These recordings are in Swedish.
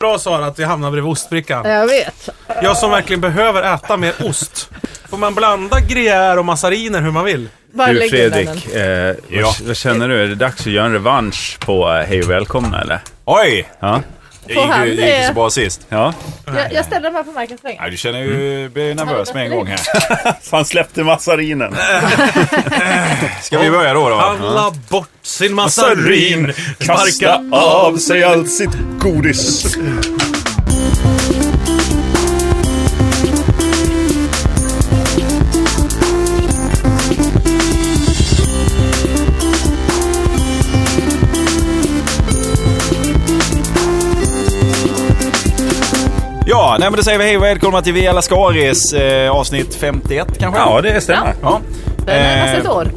Bra Sara att vi hamnar bredvid ostbrickan. Jag vet. Jag som verkligen behöver äta mer ost. Får man blanda gruyère och massariner hur man vill? Bara Du lägg undan den. Fredrik, eh, Ja. vad, vad känner du? Är det dags att göra en revansch på eh, Hej och välkomna eller? Oj! Ja. Det Får gick han ju det gick ju det? så bra sist. ja. Mm. Jag, jag ställer den här på markens länge. Nej, du känner ju, blir ju nervös med en gång här. Han släppte Äh, massarinen. Ska vi börja då? då? Handla bort sin massarin. Sparka. av sig allt sitt godis. Ja, nej men då säger vi hej och välkomna till Via Lascaris eh, avsnitt 51 kanske? Ja, det stämmer. Ja. Det är närmast ett Eh, år.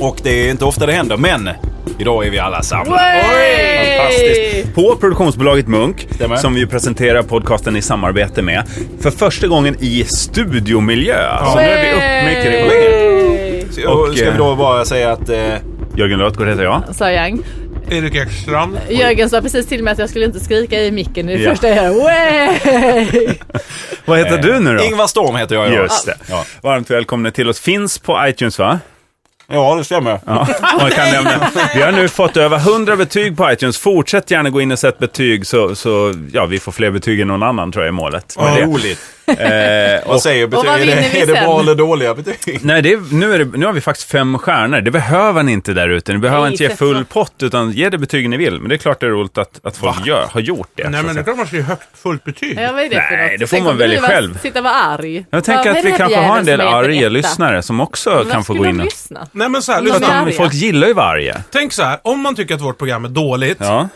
och det är inte ofta det händer, men idag är vi alla samlade. Way! Fantastiskt. På produktionsbolaget Munk, Stämmer. som vi ju presenterar podcasten i samarbete med, för första gången i studiomiljö. Så nu är vi upp med kribblingen. Så, och, Och, ska vi eh, då bara säga att... Eh, Jörgen Lötgård heter jag. Sa Yang. Erik Ekstrand. Jörgen sa precis till mig att jag skulle inte skrika i micken. Det är det Ja. första jag gör. Way! Vad heter du nu då? Eh, Ingvar Storm heter jag idag. Just det. Ja. Varmt välkomna till oss. Finns på iTunes va? ja, det stämmer. Ja, man kan nämna. Vi har nu fått över 100 betyg på iTunes. Fortsätt gärna gå in och sätt betyg så, så ja, vi får fler betyg än någon annan tror jag är målet. Vad Det- roligt. Eh, Vad säger betyg? vad Är vinner vi det, är det sen? bra eller dåliga betyg? Nej, det är, nu, är det, nu har vi faktiskt fem stjärnor. Det behöver ni inte där ute. Ni behöver Nej, inte ge för full fan. pott, utan ge det betyg ni vill. Men det är klart det är roligt att, att folk gör, har gjort det. Nej så men att Alltså. det är säga. klart man ska ju högt fullt betyg. Ja, vad är det för Nej, något? det får Sen man kommer du välja vara- själv. Sitta och vara arg. jag tänker Bara, att "Vad vi är det kanske för har en del jävel som heter arga etta?" lyssnare som också Men kan varför få gå skulle in de och... lyssna? Nej men så här, Men För lyssna. är att arga? folk gillar ju varje. Tänk så här, om man tycker att vårt program är dåligt Ja.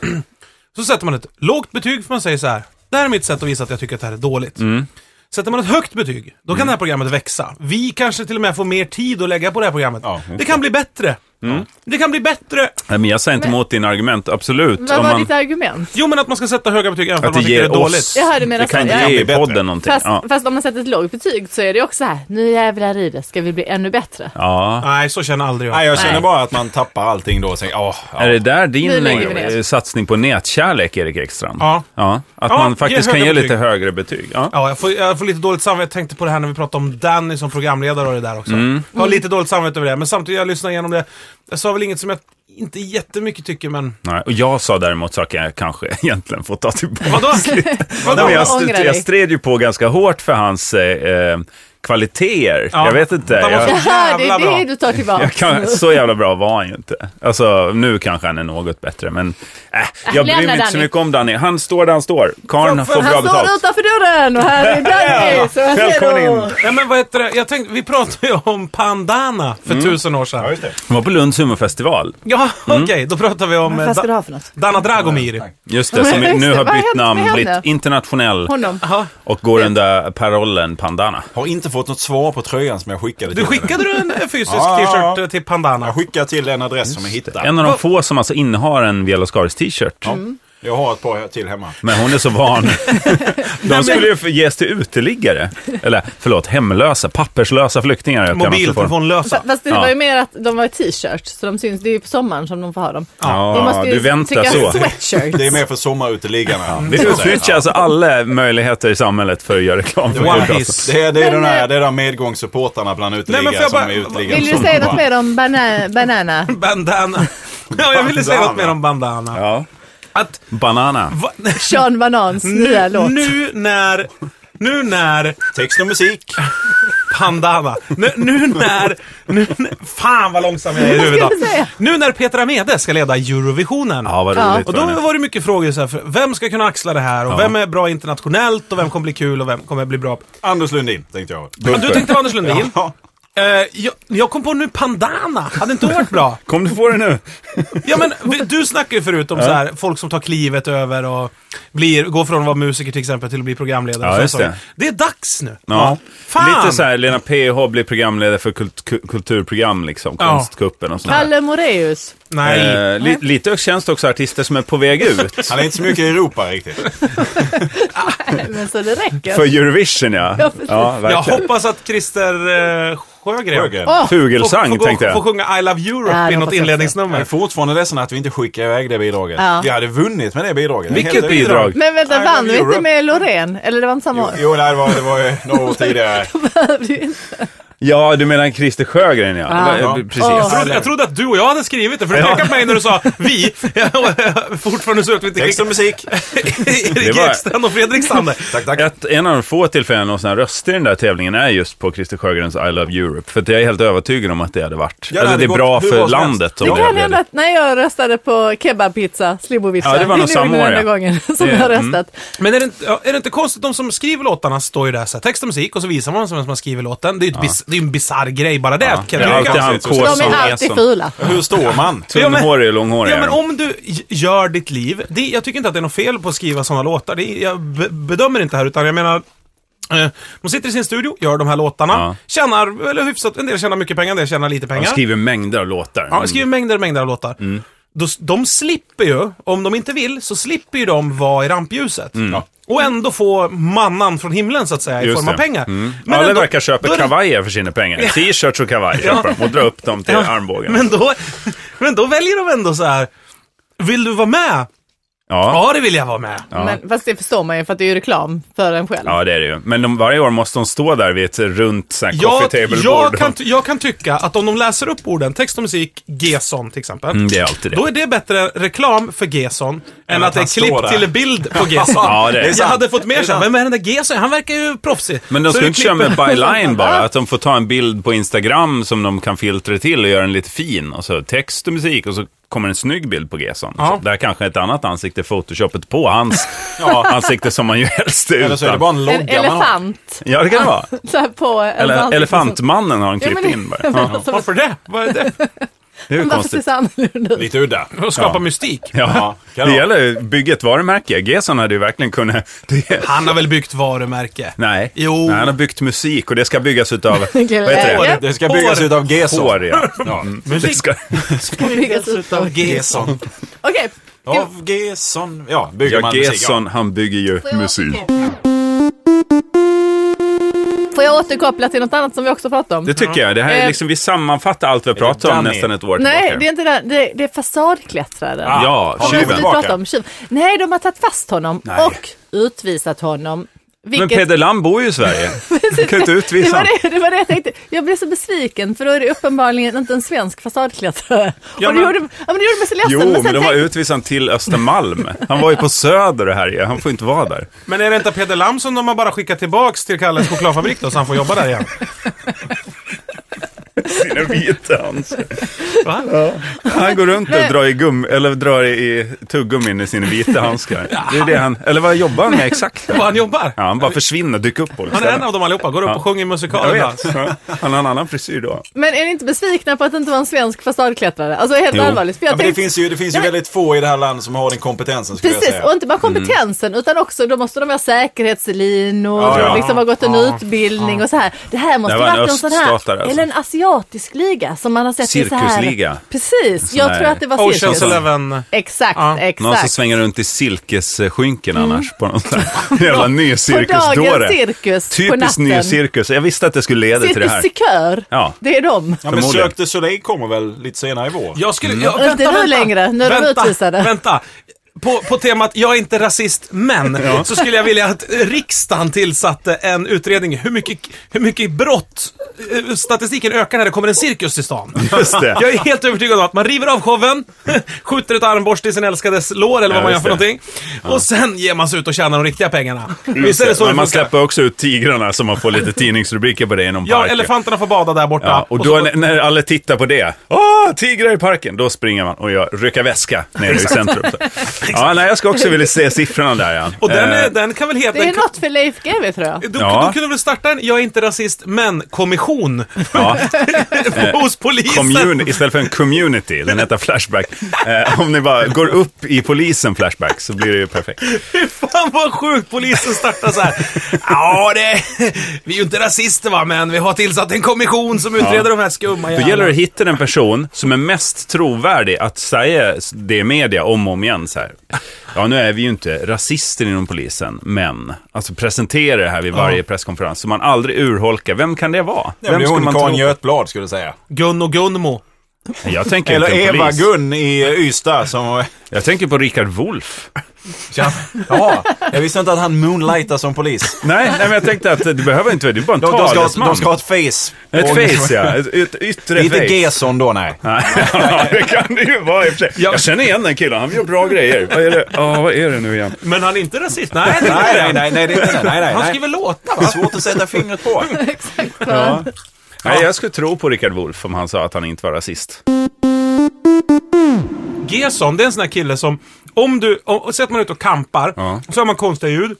så sätter man ett lågt betyg för man säger så här. Det här är mitt sätt att visa att jag tycker att det här är dåligt. Mm. Sätter man ett högt betyg, då kan det här programmet växa. Vi kanske till och med får mer tid att lägga på det här programmet. Ja, just det kan bli bättre. mm. Det kan bli bättre! Nej, men jag säger inte emot dina argument, absolut. Vad Om var man- ditt argument? Jo men att man ska sätta höga betyg även om Att det man tycker det ger är dåligt. oss... Jaha, du menar det kan så. inte Ja. ge Bli bättre. podden någonting. Fast, Ja. fast om man sätter ett lågt betyg så är det också så här. Nu jävlar i det ska vi bli ännu bättre. Ja. Nej, så känner aldrig jag. Nej, jag känner Nej. bara att man tappar allting då och säger åh, ja. Är det där din Nu lägger vi eh, ner. satsning på nätkärlek, Erik Ekstrand? Ja. Att Ja, man ge faktiskt kan höga ge betyg. lite högre betyg. Ja. Ja, jag får, jag får lite dåligt samvete. Jag tänkte på det här när vi pratade om Danny som programledare och det där också. Mm. Jag har lite dåligt samvete över det, men samtidigt jag lyssnar igenom det. Jag sa väl inget som jag inte jättemycket tycker, men... Nej, och jag sa däremot saker jag kanske egentligen får ta tillbaka. Vadå? Nej, Vadå? men jag, Ångrar st- dig. jag stred ju på ganska hårt för hans eh, eh, kvaliteter. Ja. Jag vet inte. Han var så Jag, Jaha, det jävla är bra. det du tar tillbaka. jag kan, så jävla bra var han ju inte. Alltså, nu kanske han är något bättre, men äh, jag bryr mig lämna inte så Danny. mycket om Danny. Han står där han står. Karln För- för- får bra Han betalt. står utanför dörren och här är Danny. Så här ser Välkommen du. in. Nej, men vad heter det? Jag tänkte, vi pratade ju om Pandana för tusen år sedan. Han var på Lunds humorfestival. Ja, okej. Då pratade vi om eh, Vad ska du da ha för något? Dana Dragomir. Just det, som Just nu det, har vad har bytt hänt med namn, henne? blivit internationell Honom. Jaha. och går under parollen Pandana. Har inte fått något svar på tröjan som jag Du skickade till henne. skickade du en eh, fysisk Ja, ja, ja. t-shirt eh, till Pandana? Jag skickar till en adress som jag En hittar. av de få som alltså innehar en Via Lascaris t-shirt. Mm. Jag har ett par till hemma. Men hon är så van. De skulle ju ges till uteliggare. Eller förlåt, hemlösa, papperslösa flyktingar. Jag kan också få dem. Mobiltelefonlösa. Fast det Ja. var ju mer att de var i t-shirt, så de syns, det är ju på sommaren som de får ha dem. Ja, de måste ju du väntar tycka så. sweatshirts. Det är mer för sommaruteliggarna. Vi utnyttjar alltså alla möjligheter i samhället för att göra reklam för One podcasten. Piece. Det är, det är Men, de här, eh, det är de medgångssupportrarna bland Nej, men uteliggare får jag som bara- är uteliggare. Vill du som säga bara- något mer om bana banana? Bandana. Ja, jag ville säga något mer om Bandana. Ja. Att... Banana. Va, Sean Banans nya låt. nu när... Nu när... Text och musik. Pandana. Nu, nu när... Nu, när- fan vad långsam jag är i huvudet. Vad ska du säga? Nu när Peter Amede ska leda Eurovisionen. Ja, vad Ja. roligt. Och var det. då var det mycket frågor så här, för vem ska kunna axla det här och Ja. vem är bra internationellt och vem kommer bli kul och vem kommer bli bra? Anders Lundin, tänkte jag. Men du tänkte på Anders Lundin. Ja. Eh, jag, jag kom på nu Pandana, hade inte varit bra? Kom du på det nu? Ja men vi- du snackar ju förut om så här, folk som tar klivet över och blir, går från att vara musiker till exempel till att bli programledare. Ja, och såna just saker. det. det är dags nu. Ja. eh, Fan! Lite så här, Lena PH blir programledare för kult, ku- kulturprogram, liksom. Ja. Konstkuppen och sånt där. Kalle Moreus. Nej. Eh, li, lite känns det också artister som är på väg ut. Han är inte så mycket i Europa riktigt. Men så det räcker. För Eurovision ja. Ja, precis. jag verkligen. hoppas att Christer eh, Sjögren Sjögren. Åh, Fugelsang får, får, tänkte får jag. sjunga I Love Europe Ja, det i något hoppas jag inledningsnummer. Jag är fortfarande ledsen att vi inte skickar iväg det bidraget. Ja. Vi hade vunnit med det bidraget. En Vilket hel del bidrag? Men I vänta, love vann vi inte Europe. med Loreen? Eller det var inte samma år? Jo, nej, det var, det var ju några år tidigare. Ja, du menar Christer Sjögren ja. Ja. ja. Precis. Ja. Jag trodde, jag trodde att du och jag hade skrivit det, för du Ja. pekade på mig när du sa vi. Jag- Fortfarande så att vi inte Text och musik. Det Erik var- Ekstrand och Fredrik Sander. Tack, tack. Ett, en av de få tillfällen någonsin jag röstade i den där tävlingen är just på Christer Sjögrens I Love Europe. För att jag är helt övertygad om att det hade varit, Ja, det eller hade det är gått bra hur för bra som landet. om Det kan hade- hända att när jag röstade på kebabpizza, slibovitsa, Ja, det var nog är samma nog den år, enda ja. gången som Det- jag har mm. röstat. Men är det, inte, ja, är det inte konstigt, de som skriver låtarna står ju där så här, text och musik och så visar man vem som har skrivit låten. Det är ju ett bis, det är ju en bisarr grej bara det. Ja, kan det jag är tycka. alltid han konstigt. K Och De som är är alltid som... fula. Hur står man? Ja, men- Tunnhårig och långhårig. Ja, men om du j- gör ditt liv. Det, jag tycker inte att det är något fel på att skriva sådana låtar. Det, är- jag be- bedömer inte här, utan jag menar... Eh, de sitter i sin studio, gör de här låtarna. Ja. Tjänar, eller hyfsat, en del tjänar mycket pengar, en del tjänar lite Han pengar. skriver mängder av låtar. Ja, de skriver mängder och mängder av låtar. Mm. Då, s- de slipper ju, om de inte vill, så slipper ju de vara i rampljuset. Ja. Och ändå få mannan från himlen så att säga i Mm. Just form av det. pengar. Men Alla ändå- verkar köpa då är det- kavajer för sina pengar. T-shirts och kavajer köper de och drar upp dem till armbågen. Men då, men då väljer de ändå så här. Vill du vara med? ja. Ja, det vill jag vara med. Men, fast det förstår man ju för att det är ju reklam för en själv. ja, det är det ju. Men de, varje år måste de stå där vid ett runt så här, coffee Jag, table-bord. jag, kan, ty- jag kan tycka att om de läser upp orden, text och musik, Gesson till exempel. Mm, det är alltid det. Då är det bättre reklam för Gesson än, att att det är han står klipp där. till bild på Gesson. Ja, det är jag sant. hade fått Det mer är såhär, sant. vem är den där Gesson? Han verkar ju proffsig. Men de Så skulle det inte köra klipper- med by line bara, att de får ta en bild på Instagram som de kan filtra till och göra den lite fin. Och så text och musik och så kommer en snygg bild på Gesson. Ja. Så Där kanske ett annat ansikte är photoshoppet på hans ansikte som man ju helst är Eller så är det utan. bara en En logga man har. elefant. Ja, det kan det vara. Så här på en Eller ansikte som- elefantmannen har han Ja, klippt men- in bara. men liksom. Ja, alltså, Varför det? Vad är det? det är ju Varför ser konstigt. det annorlunda ut? Lite udda. Att skapa Ja. mystik. Ja, kan det vara. gäller ju bygget varumärke. Gesson hade ju verkligen kunnat... Det... Han har väl byggt varumärke? Nej. Jo. Nej, han har byggt musik och det ska byggas utav... vad heter Glädje. det? Det ska byggas Hår. ut av Gesson. Hår, ja. Mm. Ja. Det ska... Byggas ut av- Gesson. Okej. Av Gesson. Ja, bygger Ja, man musik. Ja. Gesson, han bygger ju musik. Får jag återkoppla till något annat som vi också pratade om? Det tycker jag. Det här är Eh, liksom, vi sammanfattar allt vi har pratat om Danny? nästan ett år Nej, tillbaka. det är inte det. Det, det är fasadklättraren. Ja, Ja, Har vi tjuven. men- pratat om tjuv? Nej, de har tagit fast honom Nej. och utvisat honom. Men Vilket... Peder Lam bor ju i Sverige. Du kan inte det utvisa var honom. det, det var det jag tänkte. Jag blev så besviken för då är det uppenbarligen inte en svensk fasadklättrare. Ja, och det, men- gjorde, ja, men det gjorde mig så ledsen. Jo, sen men de har tänkte- utvisat honom till Östermalm. Han var ju på Söder och härjade. Han får inte vara där. Men är det inte Peder Lam som de har bara skickat tillbaks till Kalles chokladfabrik då, så han får jobba där igen? Sina vita handskar. Va? Han går runt och drar i, gum, eller drar i tuggummin i sina vita handskar. Det är det han, eller vad jobbar han med exakt? Vad han jobbar? Ja, han bara försvinner, dyker upp på det Han är en av dem allihopa, går upp Ja. och sjunger Jag musikal ibland. vet. Ja, Han har en annan frisyr då. Men är ni inte besvikna på att det inte var en svensk fasadklättrare? Alltså helt Jo. allvarligt. För jag Ja, men det tänkte- finns ju, det finns ju väldigt få i det här landet som har den kompetensen skulle Precis, jag och säga. inte bara kompetensen utan också då måste de ha säkerhetslinor Ja, ja. och liksom ha gått en Ja, utbildning och så här. Det här måste Det var varit en en sån här, öststatare, alltså. eller en asiatisk liga som man har sett i så här. Cirkusliga. Precis, sån jag här tror att det var cirkus. Oceans Eleven. Exakt, Ja. Någon som exakt. svänger runt i silkesskynken annars på någon sån här jävla ny På dagens cirkusdåre. cirkus på Typiskt natten. ny cirkus. Jag visste att det skulle leda till det här. Cirkusikör, Ja. det är de. Ja, men Förmodligen. Cirque du Soleil kommer väl lite senare i vår? Jag skulle... Mm. Jag, Inte nu längre, nu är de vänta, utvisade. Vänta. På, på temat jag är inte rasist, men så skulle jag vilja att riksdagen tillsatte en utredning hur mycket, hur mycket brott eh, statistiken ökar när det kommer en cirkus till stan. Just det. Jag är helt övertygad om att man river av showen, skjuter ett armborste i sin älskades lår eller vad Ja, man gör just för det. någonting. Och sen ger man sig ut och tjänar de riktiga pengarna. Visst är det så Men det man funkar? släpper också ut tigrarna så man får lite tidningsrubriker på det inom Ja, parken. elefanterna får bada där borta. Ja, och då när, när alla tittar på det, åh, tigrar i parken, då springer man och gör rycka väska nere i centrum. Så. Ja, nej, jag ska också vilja se siffrorna där. Ja. Och den, är, Eh, den kan väl heta... Det den är kan- något för Leif GW tror jag. Då, Ja. då kunde vi starta en Jag är inte rasist, men-kommission ja. hos polisen. Communi- istället för en community, den heter Flashback. Eh, om ni bara går upp i polisen Flashback så blir det ju perfekt. Fy Fan vad sjukt, polisen startar så här. Ja, det... Vi är ju inte rasister va, men vi har tillsatt en kommission som utreder de här skumma Då gäller det att hitta den person som är mest trovärdig att säga det i media om och om igen. Så här. Ja, nu är vi ju inte rasister inom polisen, men alltså presentera det här vid varje presskonferens så man aldrig urholkar. Vem kan det vara? Det Vem blir ska man hon tro? Karin Götblad skulle jag säga. Gun och Gunmo. Jag tänker Eller inte på polis. Eva-Gun i Ystad som... Jag tänker på Richard Wolff. Ja, jag visste inte att han moonlightar som polis. Nej, nej, men jag tänkte att det behöver inte vara det. är bara en De, de, ska, ha- talesman. de ska ha ett face. Ett face, ja. Ett, ett yttre Det är inte face. Gesson då, nej. ja, det kan det ju vara i och för sig. Jag känner igen den killen, han gör bra grejer. Vad är det, Ja, vad är det nu igen? Men han är inte rasist. Nej, det är Nej, inte nej, han. nej, nej, det är inte det. Nej, nej, Han nej. skriver låtar Det är va? svårt att sätta fingret på. Exakt. Ja. Nej, jag skulle tro på Richard Wolff om han sa att han inte var rasist. Gesson, det är en sån här kille som, om du, och, och sätter man ut och kampar, Ja. Mm. så hör man konstiga ljud.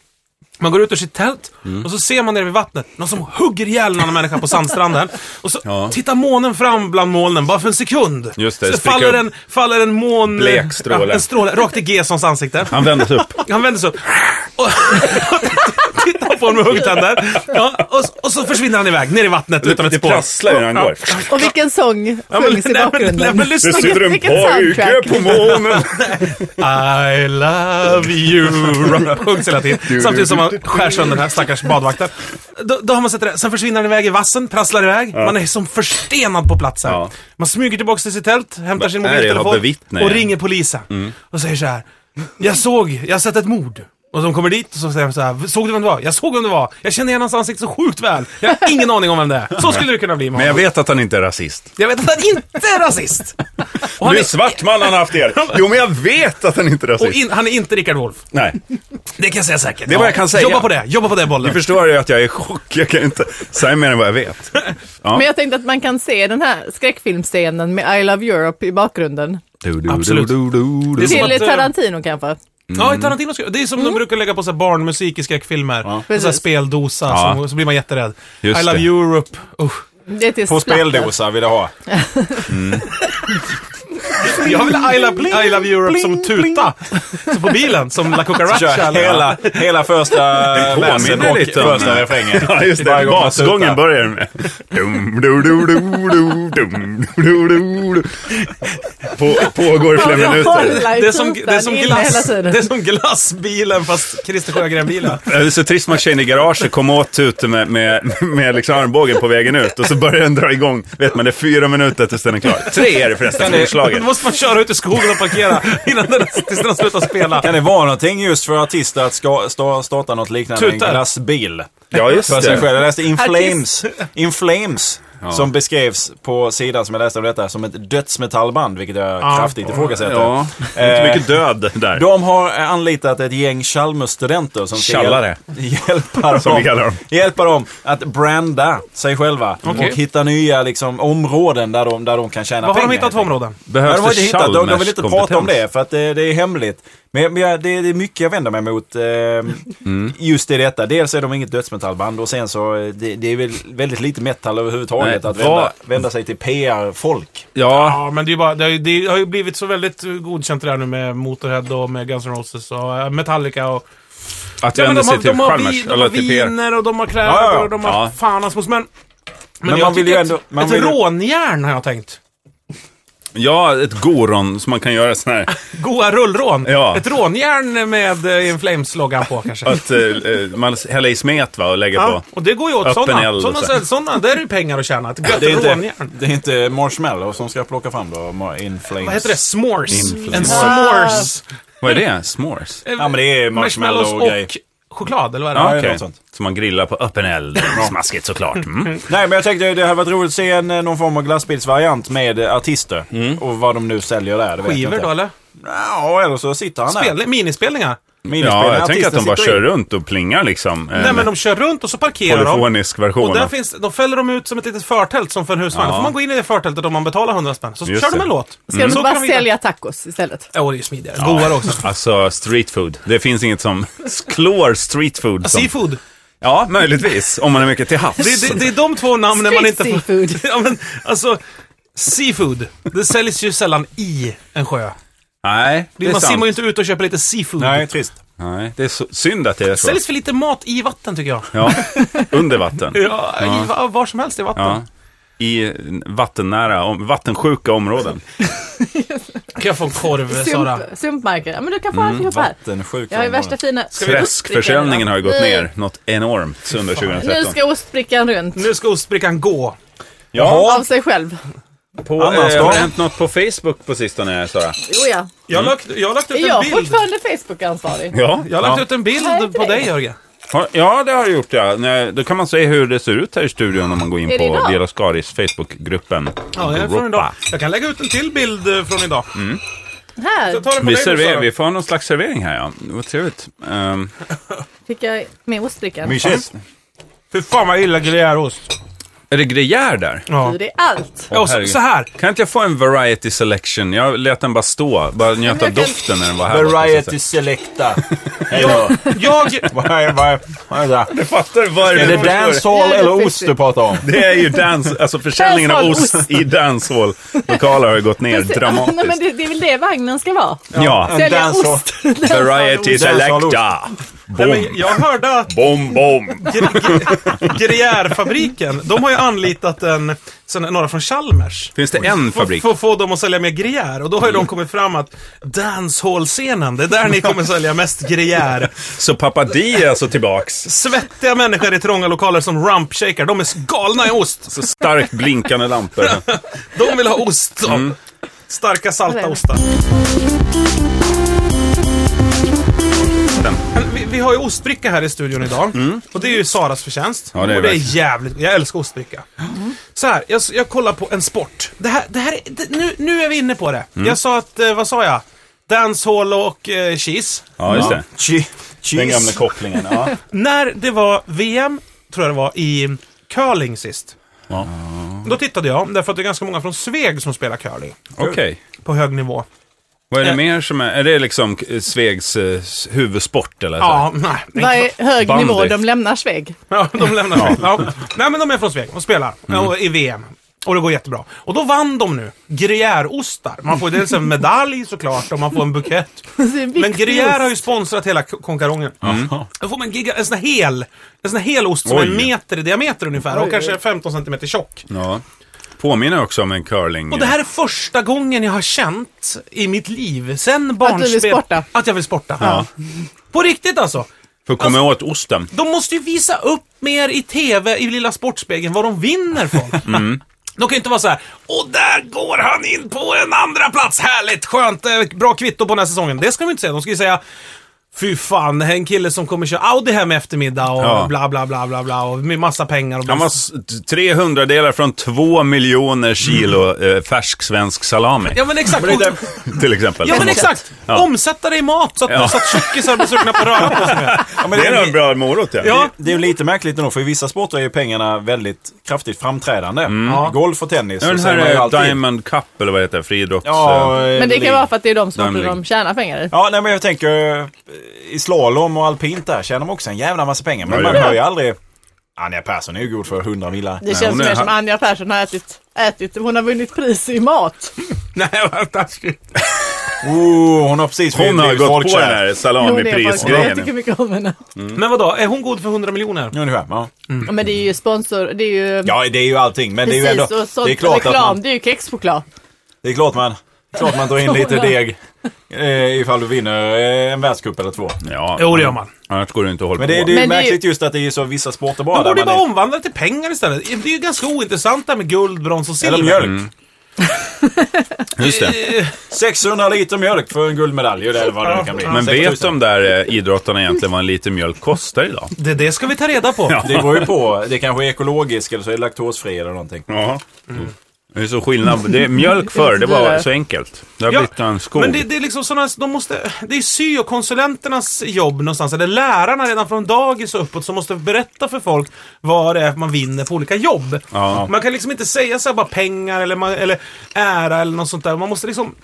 Man går ut ur sitt tält och så ser man nere vid vattnet någon som hugger ihjäl en annan människa på sandstranden. Och så Ja. tittar månen fram bland molnen bara för en sekund. Just det, så spricker faller upp. en, faller en mån... Blek stråle. en stråle rakt i Gessons ansikte. Han vändes upp. Han vänder sig upp. Och tittar på honom med huggtänder. Ja, och, så- och så försvinner han iväg ner i vattnet utan ett Det spår. prasslar ju när han går. Och vilken sång sjungs i nej, men- nej, men bakgrunden? lyssna. Vilket soundtrack. månen. I love you. Sjungs hela tiden. Samtidigt som man skär sönder den här stackars badvakten. Då, då har man sett det. där. Sen försvinner han iväg i vassen, prasslar iväg. Man är som förstenad på platsen. Ja. Man smyger tillbaka till sitt tält, hämtar sin Vad är det jag har mobiltelefon bevittnat? Mm. och ringer polisen. Och säger så här. Jag såg, jag har sett ett mord. Och de kommer dit och så säger de så här, såg du vem det var? Jag såg vem det var. Jag känner igen hans ansikte så sjukt väl. Jag har ingen aning om vem det är. Så skulle det kunna bli med Men jag honom. vet att han inte är rasist. Jag vet att han inte är rasist. Och han Nu är, är svart man han haft er. Jo, men jag vet att han inte är och rasist. in, han är inte Rickard Wolff. Nej. Det kan jag säga säkert. Det är vad jag kan säga. Jobba på det, jobba på det bollen. Ni förstår ju att jag är i chock. Jag kan inte säga mer än vad jag vet. Men jag tänkte att man kan se den här skräckfilmscenen med I Love Europe i bakgrunden. Du, du, Absolut. du, du, du. Det är som Till att, eh, Tarantino kanske. Ja, i Tarantino ska- Det är som de brukar lägga på så här barnmusik i skräckfilmer. Och så här Precis. speldosa, Ja. så, så blir man jätterädd. Just I love det. Europe. Usch. Det är till På Splatter. speldosa vill jag ha. Jag vill ha I love, I love Europe som tuta. Så på bilen, som La Cucaracha. Kör eller- hela, hela första versen påminner Eh, och lite om- första refrängen. Ja, just Varje det. gång man tutar. Basgången börjar med... Dum, du, du, du, du, dum, du, du, du. På, pågår i flera Ja, minuter. hålla i Det är, som, tutan det, är som inne glass, hela tiden. det är som glassbilen fast Christer Sjögren-bilen. Ja, Det är så trist man tjejen i garaget kom åt tuten med, med, med liksom armbågen på vägen ut och så börjar den dra igång. Vet man, det är fyra minuter tills den är klar. Tre är det förresten, Då storslaget. måste man köra ut i skogen och parkera innan den, tills den slutar spela. Kan det vara någonting just för artister att ska, sta, starta något liknande en Tutar. glassbil? Ja, För just sig själv. det. Jag läste In Flames, In Flames som beskrevs på sidan som jag läste om detta som ett dödsmetallband, vilket jag kraftigt ifrågasätter. Eh, Ja, det är inte mycket död där. De har anlitat ett gäng Chalmers-studenter som ska Tjallare. hjäl- hjälpa, dem, Som vi kallar dem. hjälpa dem att branda sig själva Okej. och hitta nya liksom, områden där de, där de kan Vad tjäna har pengar. de hittat för områden? Nej, Behövs de har inte det hittat, de, de vill inte prata om Chalmers-kompetens? det för att eh, det, det är hemligt. Men, men jag- det, det är mycket jag vänder mig mot eh, Mm. just i detta. Dels är de inget dödsmetallband och sen så eh, det, det är väl väldigt lite metal överhuvudtaget Nej, att vända, vad- vända sig till PR-folk. Ja, Ja, men det, är ju bara, det, har ju, det har ju blivit så väldigt eh, godkänt det där nu med Motorhead och med Guns N' Roses och eh, Metallica och att Ja, men vända de har, sig typ till de har, Chalmers, vi, de har eller till PR. viner och de har kläder Ja, ja, ja. och de har Ja. fan hans mos. Men, men, man jag vill tycker ju ändå- Ett, man ett vill ju- rånjärn har jag tänkt. Ja, ett goron som man kan göra sån här. Goa rullrån. Ja. Ett rånjärn med eh, In Flames-loggan på kanske. Att eh, eh, man häller i smet va, och lägger Ja, och det går ju åt Öppen sådana. eld Sådana, och så. sådana, sådana, där är ju pengar att tjäna. Ett gött Det är, inte, rånjärn. det är inte Marshmallow som ska plocka fram då, Ma- In Flames. Vad heter det? S'mores. Inflames. En s'mores. på... Vad är det? S'mores? Ja, men det är Marshmallows och marshmallow och grej. choklad, eller vad är det? Ja, det är okej. något sånt. Som man grillar på öppen eld. Smaskigt såklart. Mm. Nej, men jag tänkte det hade varit roligt att se en, eh, någon form av glassbilsvariant med eh, artister. Mm. Och vad de nu säljer där. Det vet jag Skivor inte. då, eller? Ja, eller så sitter han där. Spel, minispelningar? minispelare, Ja, jag tänker att artisten de bara sitter kör in. runt och plingar liksom. Nej, men de kör runt och så parkerar de. Polyfonisk version. Och där av- finns, de fäller de ut som ett litet förtält som för en husvagn. Då får man gå in i det förtältet om man betalar 100 spänn. Så Just kör de det. Mm. en låt. Ska de Mm. Så inte kan bara vidare. sälja tacos istället? Ja, och det är ju smidigare. Godare också. Alltså street food. Det finns inget som klår street food. Som... Seafood. Ja, möjligtvis. Om man är mycket till havs. Det, det, det är de två namnen man Street inte får... seafood. ja, men, alltså, seafood. Det säljs ju sällan i en sjö. Nej, det är Man simmar sant. ju inte ut och köper lite seafood. Nej, trist. Nej, det är så... synd att det är Det så. säljs för lite mat i vatten, tycker jag. Ja, under vatten. Ja, I, va- var som helst i vatten. Ja. I vattennära, om- vattensjuka områden. Kan jag få en korv, Sara? Sump, sumpmarker. Ja, men du kan få alltihop här. Vattensjuka Jag har ju områden. värsta fina... Mm. Träskförsäljningen har ju gått Nu- ner något enormt under Nu 2013. ska ostbrickan runt. Nu ska ostbrickan gå. Ja, Av sig själv. på, eh, Annan har stad. det hänt något på Facebook på sistone, Sara? Jo, ja. Jag Mm. har lagt, jag har lagt ut Är en jag bild. fortfarande Facebook-ansvarig? Ja, Jag har lagt ut en Nej, bild inte på det. dig, Jörgen. Har- Ja, det har jag gjort ja. Nej, Då kan man se hur det ser ut här i studion om man går in Är det på idag? Dela Skaris Facebookgruppen. Ja, det är från Europa. idag. Jag kan lägga ut en till bild eh, från idag. Här Jag tar den på Vi, dig, Sara. server, vi får ha någon slags servering här ja. Vad trevligt. Um, fick jag med ostbrickan. Mycket. Fy fan vad illa gruyèreost. är det grejär där? Ja. Det är allt. Ja, och så, herregud. så här. Kan inte jag få en variety selection? Jag lät den bara stå, bara njöt av jag kan- doften när den var här. borta, så att Variety säga. Selecta. Jag, jag, Vad är vad är det? Jag fattar vad Är det förstår. Ja, dancehall det är eller ost fixigt. du pratar om? Det är ju dans, alltså försäljningen av Dancehall, ost i dancehall-lokaler har ju gått ner Nej, men dramatiskt. det, det är väl det vagnen ska vara? Ja, En Sälja dancehall. ost. Dancehall variety ost. Ah. selecta. nej, men Bom, jag hörde att Ah, bom, bom. Gruyèrefabriken, de har ju anlitat en, sen, några från Chalmers. Finns det en För fabrik? för att få dem att sälja mer gruyère. Och då har ju de kommit fram att dancehall-scenen, det är där ni kommer sälja mest gruyère. Så pappa Di är alltså tillbaks. Svettiga människor i trånga lokaler som rumpshakar, de är galna i ost. Så starkt blinkande lampor. De vill ha ost. så. Mm. Starka salta ostar. Men Vi, vi har ju ostbricka här i studion idag. Och det är ju Saras förtjänst. Mm. Ja, det är och det verkligen. är jävligt... Jag älskar ostbricka. Så här, jag, jag kollar på en sport. Det här, det här är- det, nu, nu är vi inne på det. Mm. Jag sa att, eh, vad sa jag? Dancehall och eh, cheese. Ja, just det. Che- Den gamla Cheese. kopplingen. Ja. När det var VM, tror jag det var, i curling sist. Ja. Då tittade jag, därför att det är ganska många från Sveg som spelar curling. Okej. På hög nivå. Vad är det Eh. mer som är... Är det liksom eh, Svegs eh, s- huvudsport eller? så? Ja, nej. det är Vad inte- är hög Bandy. nivå? De lämnar Sveg. Ja, de lämnar Sveg. Ja. Nej, men de är från Sveg och spelar och, i VM. Och det går jättebra. Och då vann de nu. Gruyèreostar. Man får ju dels en medalj såklart och man får en bukett. Men Gruyère har ju sponsrat hela k- konkarongen. Mm. Då får man giga, en sån här hel, en sån här hel ost som är en Oj. meter i diameter ungefär och kanske 15 centimeter tjock. ja. Påminner också om en curling... Och det här är första gången jag har känt i mitt liv, sen barnsben... du vill sporta. Att jag vill sporta. På riktigt alltså. eh, För att komma åt osten. De måste ju visa upp mer i TV, i Lilla Sportspegeln, vad de vinner från. Mm. De kan ju inte vara så här. och där går han in på en andra plats härligt, skönt, eh, bra kvitto på den här säsongen. Det ska de inte säga, de ska ju säga Fy fan, det här är en kille som kommer köra Audi hem i eftermiddag och Ja. bla bla bla bla bla och med massa pengar och bla. Han var s- tre hundradelar från två miljoner kilo eh, färsk svensk salami. Ja men exakt! Till exempel. Ja men exakt! Ja. Omsätta det i mat så att, Ja. så att tjockisar blir sugna på att röra på sig mer. Ja, men Det är nog det- en bra morot ja. Ja. Det är ju lite märkligt ändå, för i vissa sporter är ju pengarna väldigt kraftigt framträdande. Golf och Mm. tennis. Ja, Den så säger här man ju är alltid. Diamond Cup eller vad det heter, friidrotts... Ja, eh, Men det kan vara för att det är de sporter Damlig. de tjänar pengar i. Ja, nej, men jag tänker eh, i slalom och alpint där tjänar de också en jävla massa pengar. Men Ja, man ja. hör ju aldrig... Anja Persson är ju god för 100 millar. Det hon känns är mer som här- Anja Persson har ätit, ätit, hon har vunnit pris i mat. Nej vad taskigt. Mm. Oh, hon har precis Hon har blivit gått på folkkär. den här Hon är folkkär. Jag tycker salamiprisgrejen. mycket om henne. Men vadå, är hon god för 100 miljoner? Ungefär, ja. Men det är ju sponsor, det är ju... Mm. Ja, det är ju allting. Men det är ju Precis, ändå... och sånt det är klart att reklam, man, det är ju kexchoklad. det är klart man, klart man drar in lite deg eh, ifall du vinner eh, en världscup eller två. Ja, Jo, det gör man. Annars går det inte att hålla Men det, är- på. det är ju Men det är ju- märkligt just att det är så vissa sporter bara. De borde ju där man bara är- omvandla det till pengar istället. Det är ju ganska ointressant det här med guld, brons och silver. Eller mjölk. Mm. Just det. 600 liter mjölk för en guldmedalj eller vad det nu kan bli. Men 6 000. vet de där eh, idrottarna egentligen vad en liter mjölk kostar idag? Det, det ska vi ta reda på. Det går ju på. Det kanske är ekologisk eller så är det laktosfri eller någonting. Ja. Det är så skillnad. Det, mjölk förr, det var så enkelt. Det har Ja, blivit en skog. Men det, det är liksom sådana, de måste, det är syokonsulenternas jobb någonstans, eller lärarna redan från dagis och uppåt som måste berätta för folk vad det är man vinner på olika jobb. Ja. Man kan liksom inte säga så här bara pengar eller, man, eller ära eller något sånt där. Man måste liksom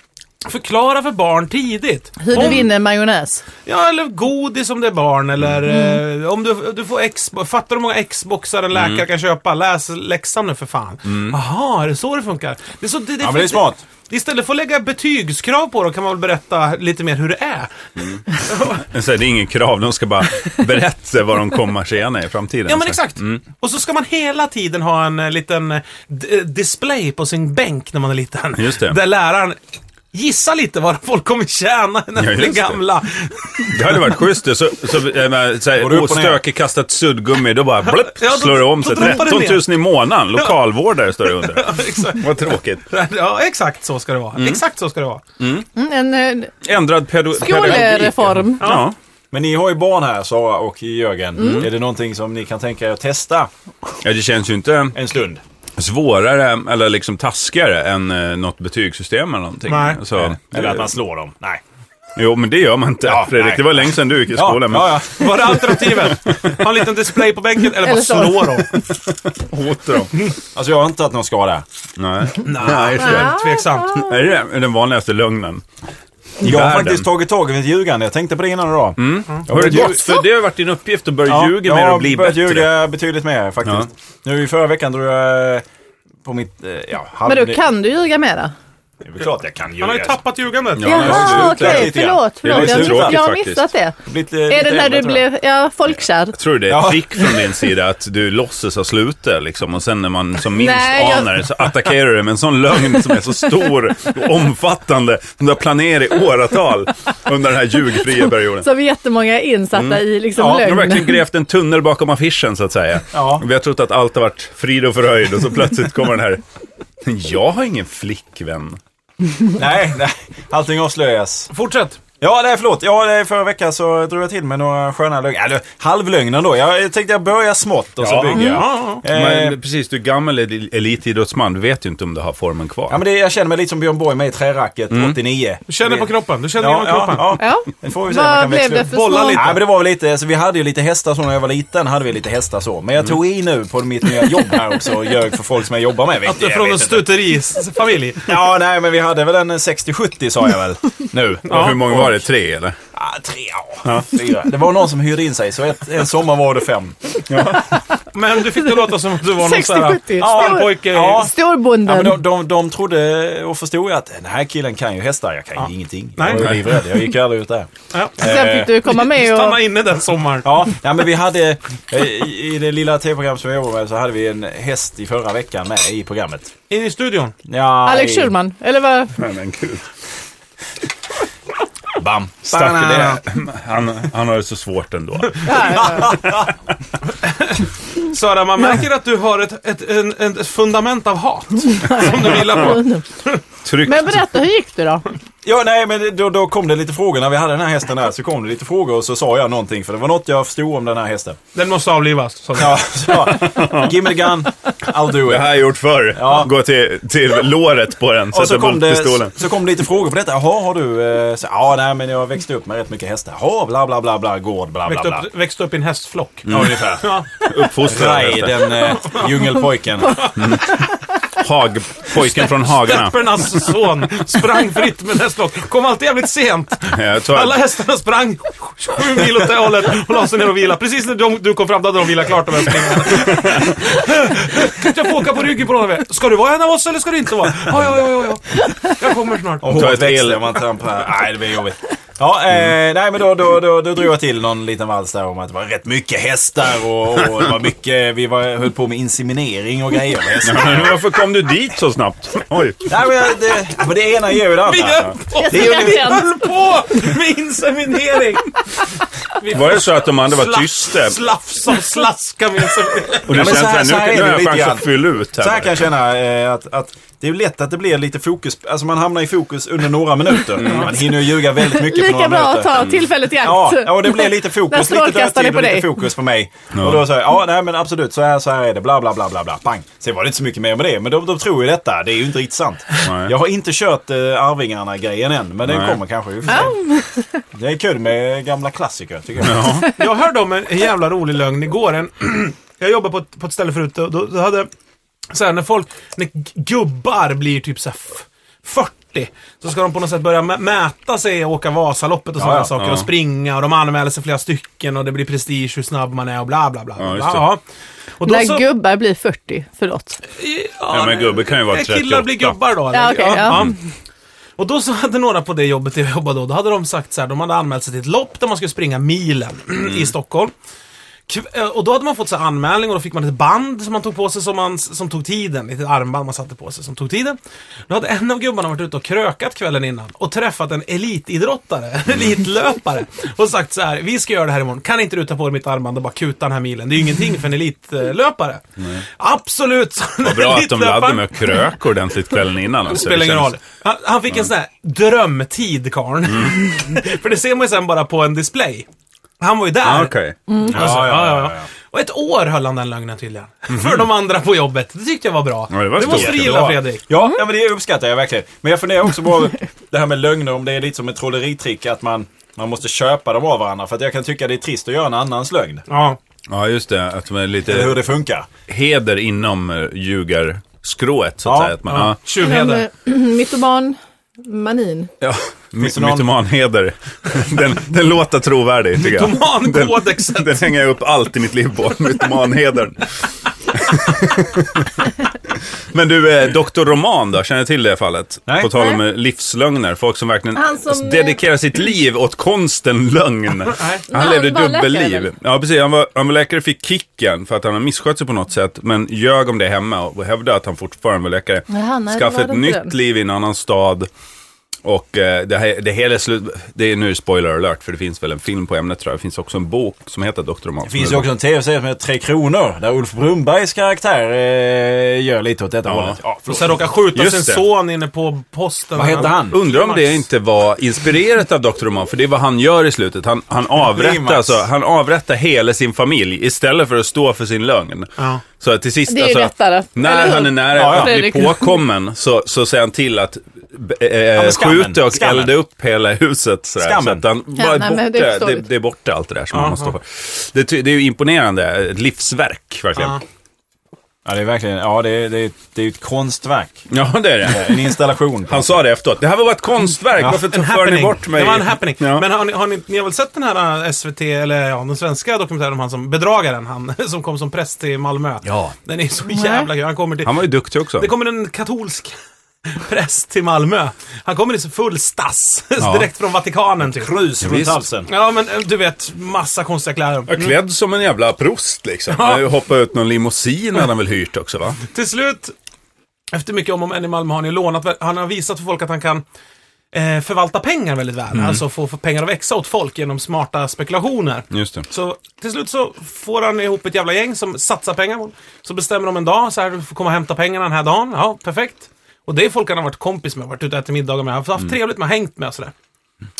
förklara för barn tidigt. Hur du Om- vinner majonnäs. Ja, eller godis om det är barn, eller eh, om du, du får X, fattar du hur många Xboxar en läkare kan köpa? Läs läxan nu för fan. Jaha, är det så det funkar? Det är så, det, det, Ja, men det är smart. Istället för att lägga betygskrav på dem kan man väl berätta lite mer hur det är. Men Så här, det är ingen krav, de ska bara berätta vad de kommer tjäna i framtiden. Ja, men Så. exakt. Och så ska man hela tiden ha en eh, liten eh, d- eh, display på sin bänk när man är liten. Just det. Där läraren gissa lite vad folk kommer tjäna när de Ja, blir just det. gamla. Det hade varit schysst. det. Så, så, äh, men, så Går du här, upp och ner? ostökig kastat suddgummi, då bara blipp, Ja, då- slår det om sig. då droppar det 13 000 ner. i månaden, lokalvårdare står det under. Exakt. Vad tråkigt. Ja, exakt så ska det vara. Exakt så ska det vara. Mm, en eh, Ändrad pedo- pedagogik. skolreform. Ja. Men ni har ju barn här, Sara och Jörgen. Mm. Är det någonting som ni kan tänka er att testa ja, det känns ju inte en stund? svårare eller liksom taskigare än eh, något betygssystem eller någonting. Nej. Så, Eller att man slår dem? Nej. Jo, men det gör man inte, Ja, Fredrik. nej. Det var länge sedan du gick i Ja, skolan. men- ja, ja. Var det alternativet? Ha en liten display på bänken eller bara Eller så. slå dem? Åt dem. Alltså jag har inte tagit någon skada. Nej. Nej, det är väldigt tveksamt. Är det den vanligaste lögnen? I jag har världen. Mm. faktiskt tagit tag i mitt ljugande. Jag tänkte på det innan idag. Har det börjat gått? För det har varit din uppgift att börja ljuga mer jag och bli börjat bättre. ljuga betydligt mer faktiskt. Nu i förra veckan drog jag på mitt... eh, Ja, halv... Men då kan du ljuga mera? Det är väl klart jag kan ljuga. Han har ju tappat ljugandet. Ja, men jag Jaha, har slutat okej. lite grann. Förlåt, Det är förlåt. lite Jag, har miss, tråkigt jag har faktiskt. missat det. Blivit, eh, Är lite det när äldre, du tror jag. blev ja, folkkär? Tror du det är ett Ja. trick från din sida att du låtsas ha slutat liksom, och sen när man som minst Nej, jag- anar det så attackerar du det med en sån lögn som är så stor och omfattande som du har planerat i åratal under den här ljugfria perioden. Som jättemånga är insatta i liksom Ja, De har verkligen lögn. grävt en tunnel bakom affischen så att säga. Ja. Vi har trott att allt har varit frid och fröjd och så plötsligt kommer den här. Jag har ingen flickvän. Nej, nej. Allting avslöjas. Fortsätt. Ja, nej förlåt. Ja, det är förra veckan så drog jag till med några sköna lögner. Eller halvlögner då. Jag tänkte jag börjar smått och så Ja. Mm. bygger jag. Ja, Eh, Men, precis, du är gammal el- elitidrottsman. Du vet ju inte om du har formen kvar. Ja, men det, jag känner mig lite som Björn Borg med i Träracket 89. Du känner på kroppen. Du känner Ja, igenom kroppen. ja, ja. Ja. Det får vi se om jag Vad kan blev växla det upp. för Bolla små... lite. Nej, men det var väl lite, alltså, vi hade ju lite hästar så när jag var liten. hade vi lite hästar så. Men jag tog i nu på mitt nya jobb här också och ljög för folk som jag jobbar med. Att du är Jag från vet en inte. stuterifamilj. Ja, nej, men vi hade väl en 60-70 sa jag väl. Nu. Och Hur många var det? Tre eller? Ah, tre, ja. fyra. Det var någon som hyrde in sig, så ett, en sommar var det fem. Men du fick det låta som att du var någon sån här 60-70. alpojke. Ja. Ja, men Storbonden. de, de, de trodde och förstod att den här killen kan ju hästar. Jag kan ju ingenting. Nej. Jag var ju livrädd. Jag gick aldrig ut där. Ja. Sen fick du komma med och... Eh, Stanna inne den sommaren. Ja, nej, men vi hade eh, i i det lilla tv-program som jag jobbar med så hade vi en häst i förra veckan med i programmet. In i studion. Ja, Alex i- Schulman, eller vad? Nej, men gud. Bam. Stackare, det- han, han har det så svårt ändå. Ja, ja, ja. Sara, man märker att du har ett, ett, en, en, ett fundament av hat. Som du vilar på. Tryck. Men berätta, hur gick det då? Ja, nej, men då, då kom det lite frågor. När vi hade den här hästen här så kom det lite frågor och så sa jag någonting. För det var något jag förstod om den här hästen. Den måste avlivas. sa du. Ja, så, give me the gun, I'll do Det it. här har jag gjort förr. Ja. Gå till, till låret på den, Och sätta så kom, bort det, pistolen. så kom det lite frågor på detta. Jaha, har du... eh, Så, ja, nej, men jag växte upp med rätt mycket hästar. Jaha, bla, bla, bla, bla, gård, bla, bla, Växte bla. upp, växte upp i en hästflock. Ja, ungefär. Mm. Ja. Uppfostrad. Ray, heter det. den eh, djungelpojken. Hag, pojken från Hagarna. Steppernas son sprang fritt med hästlock. Kom alltid jävligt sent. Jag tror- Alla hästarna sprang sju mil åt det hållet och la sig ner och vila. Precis när de, du kom fram, då hade de vilat klart de här springarna. Kan jag få åka på ryggen på någon av er? Ska du vara en av oss eller ska du inte vara? Ja, ja, ja, ja, ja. Jag kommer snart. Om Ta håret ett el. växte om man trampar. Nej, det blir jobbigt. Ja, eh, nej men då, då, då, då drog jag till någon liten vals där om att det var rätt mycket hästar och, och det var mycket, vi var, höll på med inseminering och grejer med hästar. Men Varför kom du dit så snabbt? Oj. Nej men jag- det, men det ena ger ju det Vi andra. höll på, Jag ser vi det. höll på med inseminering. Vi Var det så att de andra var tysta? Slafsa och slaska med sig. Och det Ja, men känns så såhär, här- så här nu, är nu det har jag lite chans grann. att fylla ut här. Så här kan jag känna eh, att, att det är lätt att det blir lite fokus, alltså man hamnar i fokus under några minuter. Mm. Man hinner ju ljuga väldigt mycket på några Lika bra minuter. att ta tillfället i Ja, akt. ja, och det blev lite När fokus, lite strålkastaren är dödtid på och lite dig. fokus på mig. Och då sa jag, ja nej men absolut, så här, så här är det, bla bla bla bla bla, pang. Sen var det inte så mycket mer med det, men de, de tror ju detta, det är ju inte riktigt sant. Nej. Jag har inte kört eh, Arvingarna-grejen än, men den Nej. kommer kanske. vi får se. Det är kul med gamla klassiker tycker jag. Jag hörde om en en jävla rolig lögn igår. En, jag jobbade på ett, på ett ställe förut och då, då hade... Så här, när folk... När g- gubbar blir typ så här f- 40. Så ska de på något sätt börja mä- mäta sig och åka Vasaloppet och Ja, sådana ja. saker. Ja. Och springa och de anmäler sig flera stycken och det blir prestige hur snabb man är och bla bla bla. Ja, bla, just bla. det. Ja. Och då När så, gubbar blir 40, förlåt. Ja, men gubbe kan ju vara Mm. Nej, Killar blir 38. gubbar då. eller? Ja, okej, ja. Och då så hade några på det jobbet där jag jobbade då, då hade de sagt så här, de hade anmält sig till ett lopp där man skulle springa milen Mm. i Stockholm. Kv- eh, Och då hade man fått så här anmälning och då fick man ett band som man tog på sig som, man, som tog tiden. Ett armband man satte på sig som tog tiden. Då hade en av gubbarna varit ute och krökat kvällen innan och träffat en elitidrottare, en elitlöpare. Och sagt så här, vi ska göra det här imorgon. Kan inte du ta på dig mitt armband och bara kuta den här milen? Det är ju ingenting för en elitlöpare. Absolut! sa den Vad bra att de laddade elitlöparen. med krök ordentligt kvällen innan också. Spelar ingen Det känns- roll. Han, han fick en sån här drömtid, karln. För det ser man ju sen bara på en display. Han var ju där. Ah, okej. Alltså, Ja, ja, ja, Och ett år höll han den lögnen tydligen. För de andra på jobbet. Det tyckte jag var bra. Ja, det var stort. måste du gilla Jättebra. Fredrik. Ja, ja, men det uppskattar jag verkligen. Men jag funderar också på det här med lögner, om det är lite som ett trolleritrick att man, man måste köpa dem av varandra. För att jag kan tycka det är trist att göra en annans lögn. Ja. Ja, just det. Att de är Eller hur lite det funkar. heder inom eh, ljugarskrået, så att Ja, säga. Att man, ja. ja. Tjuvheder. Mytoman, manin. Ja, my, det någon- mytomanheder. Den, den låter trovärdig, tycker jag. Mytomankodexet. Den, den hänger jag upp allt i mitt liv på, mytomanhedern. Men du, eh, Dr. Roman då, känner du till det fallet? Nej. På tal om eh, livslögner, folk som verkligen Han som, alltså, dedikerar sitt liv åt konsten lögn. Han han levde var läkare, dubbelliv. väl? Ja, precis. Han var, han var läkare, fick kicken för att han har misskött sig på något sätt, men ljög om det hemma och hävdade att han fortfarande var läkare. Jaha, nej, det Skaffade var det ett nytt inte den. liv i en annan stad. Och eh, det, här, det hela slut, det är nu spoiler alert för det finns väl en film på ämnet tror jag. Det finns också en bok som heter Dr. Roman. Det finns ju också en tv-serie som heter Tre Kronor, där Ulf Brunnbergs karaktär eh, gör lite åt detta Ja. hållet. Ja, Och förlåt. sen råkade skjuta Just sin det. son inne på posten. Vad hette han? Undrar om Max. det inte var inspirerat av Dr. Roman, för det är vad han gör i slutet. Han, han, avrättar, Limax. alltså, han avrättar hela sin familj istället för att stå för sin lögn. Ja. Så att till sist, alltså, Det är ju lättare, eller när hur? han är nära Ja, ja. att bli Fredrik. påkommen så, så säger han till att b- eh, men skammen. skjuta och Skammen. elda upp hela huset. Sådär, Skammen. Så att han Ja, bara är nej, borta, men det är det, det, förståeligt. är borta allt det där som Ja, han måste ja. stå för. Det, ty- det är ju imponerande, ett livsverk verkligen. Ja, Ja, det är verkligen, ja det är, det är, det är ju ett konstverk. det är det. En installation. Han sa det efteråt, det här var ett konstverk, varför En för ni happening. bort mig? Det var en happening. Ja. Men har ni, har ni, ni har väl sett den här eh, SVT, eller ja, den svenska dokumentären om han som bedragaren, han som kom som präst till Malmö. Ja. Den är så jävla kul. Han kommer till... Han var ju duktig också. Det kommer en katolsk präst till Malmö. Han kommer i så full stass. Ja. Direkt från Vatikanen typ. Krus runt Visst. halsen. Ja, men eh, du vet, massa konstiga kläder. Ja, klädd som en jävla prost liksom. Ja. Hoppa ut någon limousin hade han väl hyrt också va? Till slut, efter mycket om och men i Malmö, har han ju lånat, vä- han har visat för folk att han kan eh, förvalta pengar väldigt väl. Mm. Alltså få, få pengar att växa åt folk genom smarta spekulationer. Just det. Så till slut så får han ihop ett jävla gäng som satsar pengar på honom. Så bestämmer de en dag, så här, du får komma och hämta pengarna den här dagen. Ja, perfekt. Och det är folk han har varit kompis med, varit ute och ätit middagar med, haft haft Mm. trevligt med, hängt med och sådär.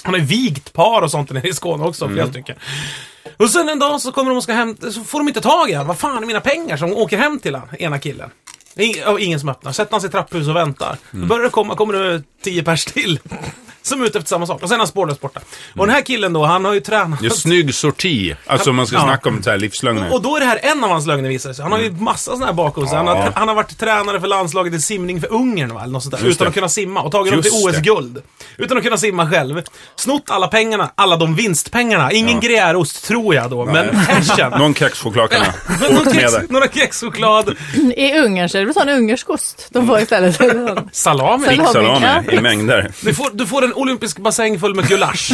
Han har ju vigt par och sånt nere i Skåne också, flera stycken. Och sen en dag så kommer de och ska hem, så får de inte tag i han. Vad fan är mina pengar? Så de åker hem till han, ena killen. Ing- och ingen som öppnar. Sätter han sig i trapphus och väntar. Då börjar det komma, kommer det tio pers till. Som är ute efter samma sak. Och sen är han spårlöst borta. Och den här killen då, han har ju tränat. Det är snygg sorti. Alltså om man ska Ja. snacka om så här livslögner. Och då är det här en av hans lögner visar det sig. Han har Mm. ju massa sådana här bakom sig. Han, har, han har varit tränare för landslaget i simning för Ungern va, eller något sånt där. Just Utan det. att kunna simma och tagit dem till Just det. OS-guld. Utan att kunna simma själv. Snott alla pengarna, alla de vinstpengarna. Ingen gruyèreost tror jag då, men cashen. Eh, Någon kexchoklad kan jag. Men någon Åk med kex, där. några kexchoklad, I Ungern så är det väl sån ungersk ost de får istället. salami. Salami. Salami Ja. i mängder. Du får, du får en olympisk bassäng full med gulasch.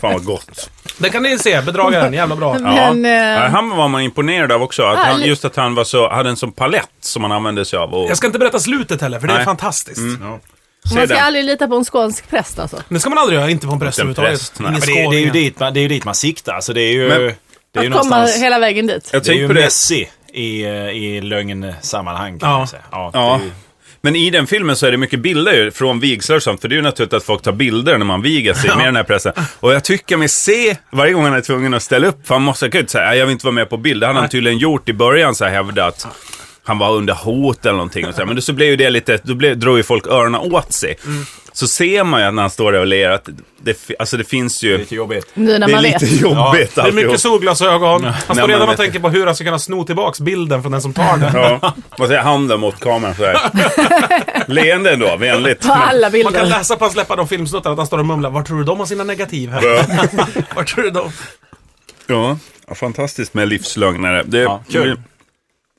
Fan vad gott. Det kan ni se, bedragaren, jävla bra. Ja. Men, eh, Ja, han var man imponerad av också. Att Ja, han, li- just att han var så, hade en sån palett som han använde sig av. Och, Jag ska inte berätta slutet heller, för det är Nej. Mm. fantastiskt. Ja. Säg Man ska den. aldrig lita på en skånsk präst alltså. Det ska man aldrig göra, inte på en präst en överhuvudtaget. präst, nej. Ni Men det, är- det, är ju skåningar. dit man, det är ju dit man siktar. Alltså det är ju, Men- det är ju Att komma någonstans... hela vägen dit. Jag Det är tänker ju på det. Messi i, eh, i lögnsammanhang kan Ja. man säga. Ja, Ja. Det är ju, Men i den filmen så är det mycket bilder ju från vigslar och sånt, för det är ju naturligt att folk tar bilder när man viger sig med den här pressen. Och jag tycker mig se, varje gång han är tvungen att ställa upp, för han måste kunna säga jag vill inte vara med på bild. Det hade han tydligen gjort i början, så här hävdat. Han var under hot eller någonting. Och så här. Men då så blev ju det lite, då blev, drog ju folk öronen åt sig. Mm. Så ser man ju att när han står där och ler att det, fi- alltså det finns ju... det är typ- lite jobbigt. Nu när Det är man vet. lite jobbigt Det är alltihop. mycket solglasögon. Han Nej, står man redan och vet tänker på hur han ska kunna sno tillbaks bilden från den som tar den. Ja, och så är handen mot kameran så här. Leende ändå, vänligt. På alla Man kan bilder. läsa på hans läppar om filmsnuttar att han står och mumlar. Var tror du de har sina negativ här? Var tror du de? Ja, fantastiskt med livslögnare. Det, Ja, kul. Alltså,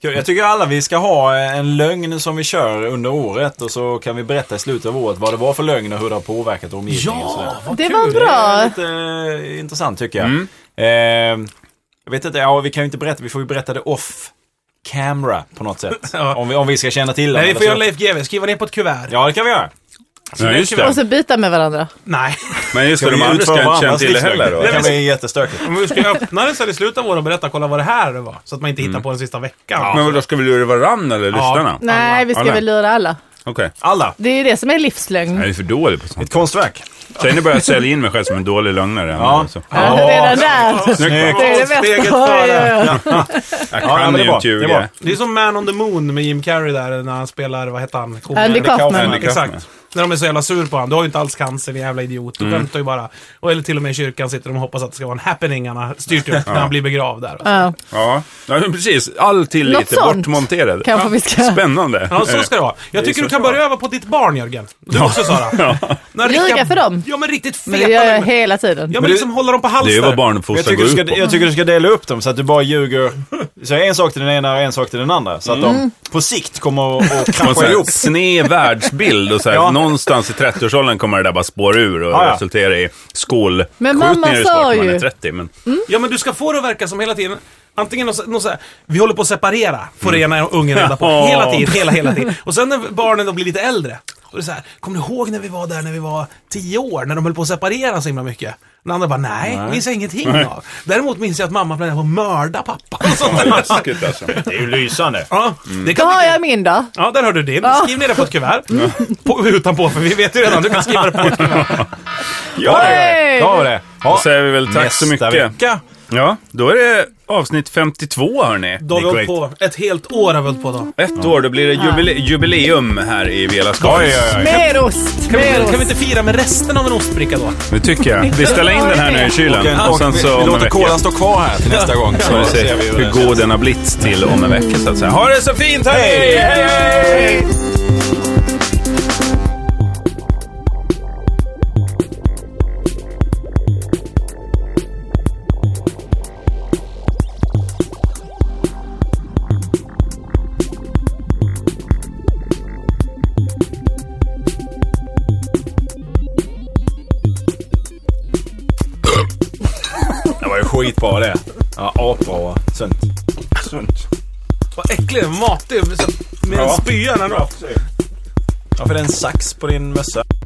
Kul. Jag tycker alla vi ska ha eh, en lögn som vi kör under året och så kan vi berätta i slutet av året vad det var för lögn och hur det har påverkat omgivningen. och sådär. Ja, vad Det kul. var en bra. Det är lite eh, intressant tycker jag. Mm. Eh, jag vet inte, ja vi kan ju inte berätta, vi får ju berätta det off camera på något sätt. Ja. om, vi, om vi ska känna till det. Nej, vi Eller får så- göra Leif GW. Skriva ner på ett kuvert. Ja, det kan vi göra. Ja, just Och det. så byta med varandra. Nej. Men just det, Ska de Alltså, vi andra ska utföra inte känna varandras till det heller livslögn? då. Det kan bli jättestökigt. Men vi ska ju öppna den sen i slutet av året och berätta, kolla vad det här var. Så att man inte hittar på den sista veckan. Men då ska vi lura varandra eller lyssnarna? Nej, vi ska Alla. väl lura alla. Okej. Alla, Det är ju det som är livslögn. Jag är för dålig på sånt. ett konstverk. Sen nu börjar jag sälja in mig själv som en dålig lögnare. Alltså, Så. Ja. Ja, Ja. redan där. Snyggt. Det är det bästa. Steget Oj, oj, före. oj. Jag Ja, men kan det är ju bra. inte Det är bra. ljuga. Det är som Man on the Moon med Jim Carrey där när han spelar, vad heter han? Komikern. Andy Kaufman. Andy Kaufman. Exakt. När de är så jävla sur på honom. Du har ju inte alls cancer din jävla idiot. Du skämtar ju bara. Och, eller till och med i kyrkan sitter de och hoppas att det ska vara en happening han har styrt upp när han blir begravd där. Ja. Ja, ja men precis. All tillit Något är sånt. bortmonterad. Kanske vi ska... Spännande. Eh, Ja, så ska det vara. Jag är tycker så du kan det ska börja öva på ditt barn, Jörgen. Du också, Sara. När Ljuga riktiga- för dem. Ja, men riktigt feta. Men det gör jag lögner. hela tiden. Ja, men liksom hålla dem på Det är ju halster. vad Jag barnuppfostran tycker, går du ut ska, på. jag tycker du ska dela upp dem så att du bara ljuger. Så en sak till den ena och en sak till den andra. Så att Mm. de på sikt kommer att- att Någon sån krascha här ihop. sned världsbild och så här, Ja. någonstans i 30-årsåldern kommer det där bara spåra ur och Ja, ja. resultera i skålskjutningar Men mamma i sa sport man är ju- Mm. 30. Men... Ja, men du ska få det att verka som hela tiden. Antingen någon, så- någon så här, vi håller på att separera, får det ena ungen reda på. Ja. Hela tiden, hela, hela tiden. Och sen när barnen då blir lite äldre, då är det så här, kommer du ihåg när vi var där när vi var tio år, när de höll på att separera så himla mycket? Den andra bara, nej, minns jag ingenting av. Däremot minns jag att mamma planerade på att mörda pappa. Och sånt där. Läskigt alltså. Det är ju lysande. Ja, det Då kan har jag min då. Ja, där har du din. Skriv ner det på ett kuvert. På, utanpå, för vi vet ju redan. Du kan skriva det på ett kuvert. Ja, det Oj! är det. Ja, det. är det. Då Ja. säger vi väl tack så Nästa mycket. vecka. Ja, då är det avsnitt 52 hörni. Då har vi hållit korrekt. på. Ett helt år har vi hållit på då. Ett år, då blir det jubile jubileum här i Vela Skoj. Oj, oj, oj. Mer ost! Kan vi, Mer kan vi ost! inte fira med resten av en ostbricka då? Det tycker jag. Vi ställer in den här nu i kylen. Och sen vi, så vi om en låter vecka. kolan stå kvar här till nästa gång. Så vi Så ser ser vi hur hur det god den har blivit till om en vecka så att säga. Ha det så fint hörni! Hej, hej! Det var ju skitbra det. Ja, apbra. Sunt. Sunt. Vad äcklig, matig, med en spya när du Varför är det en sax på din mössa?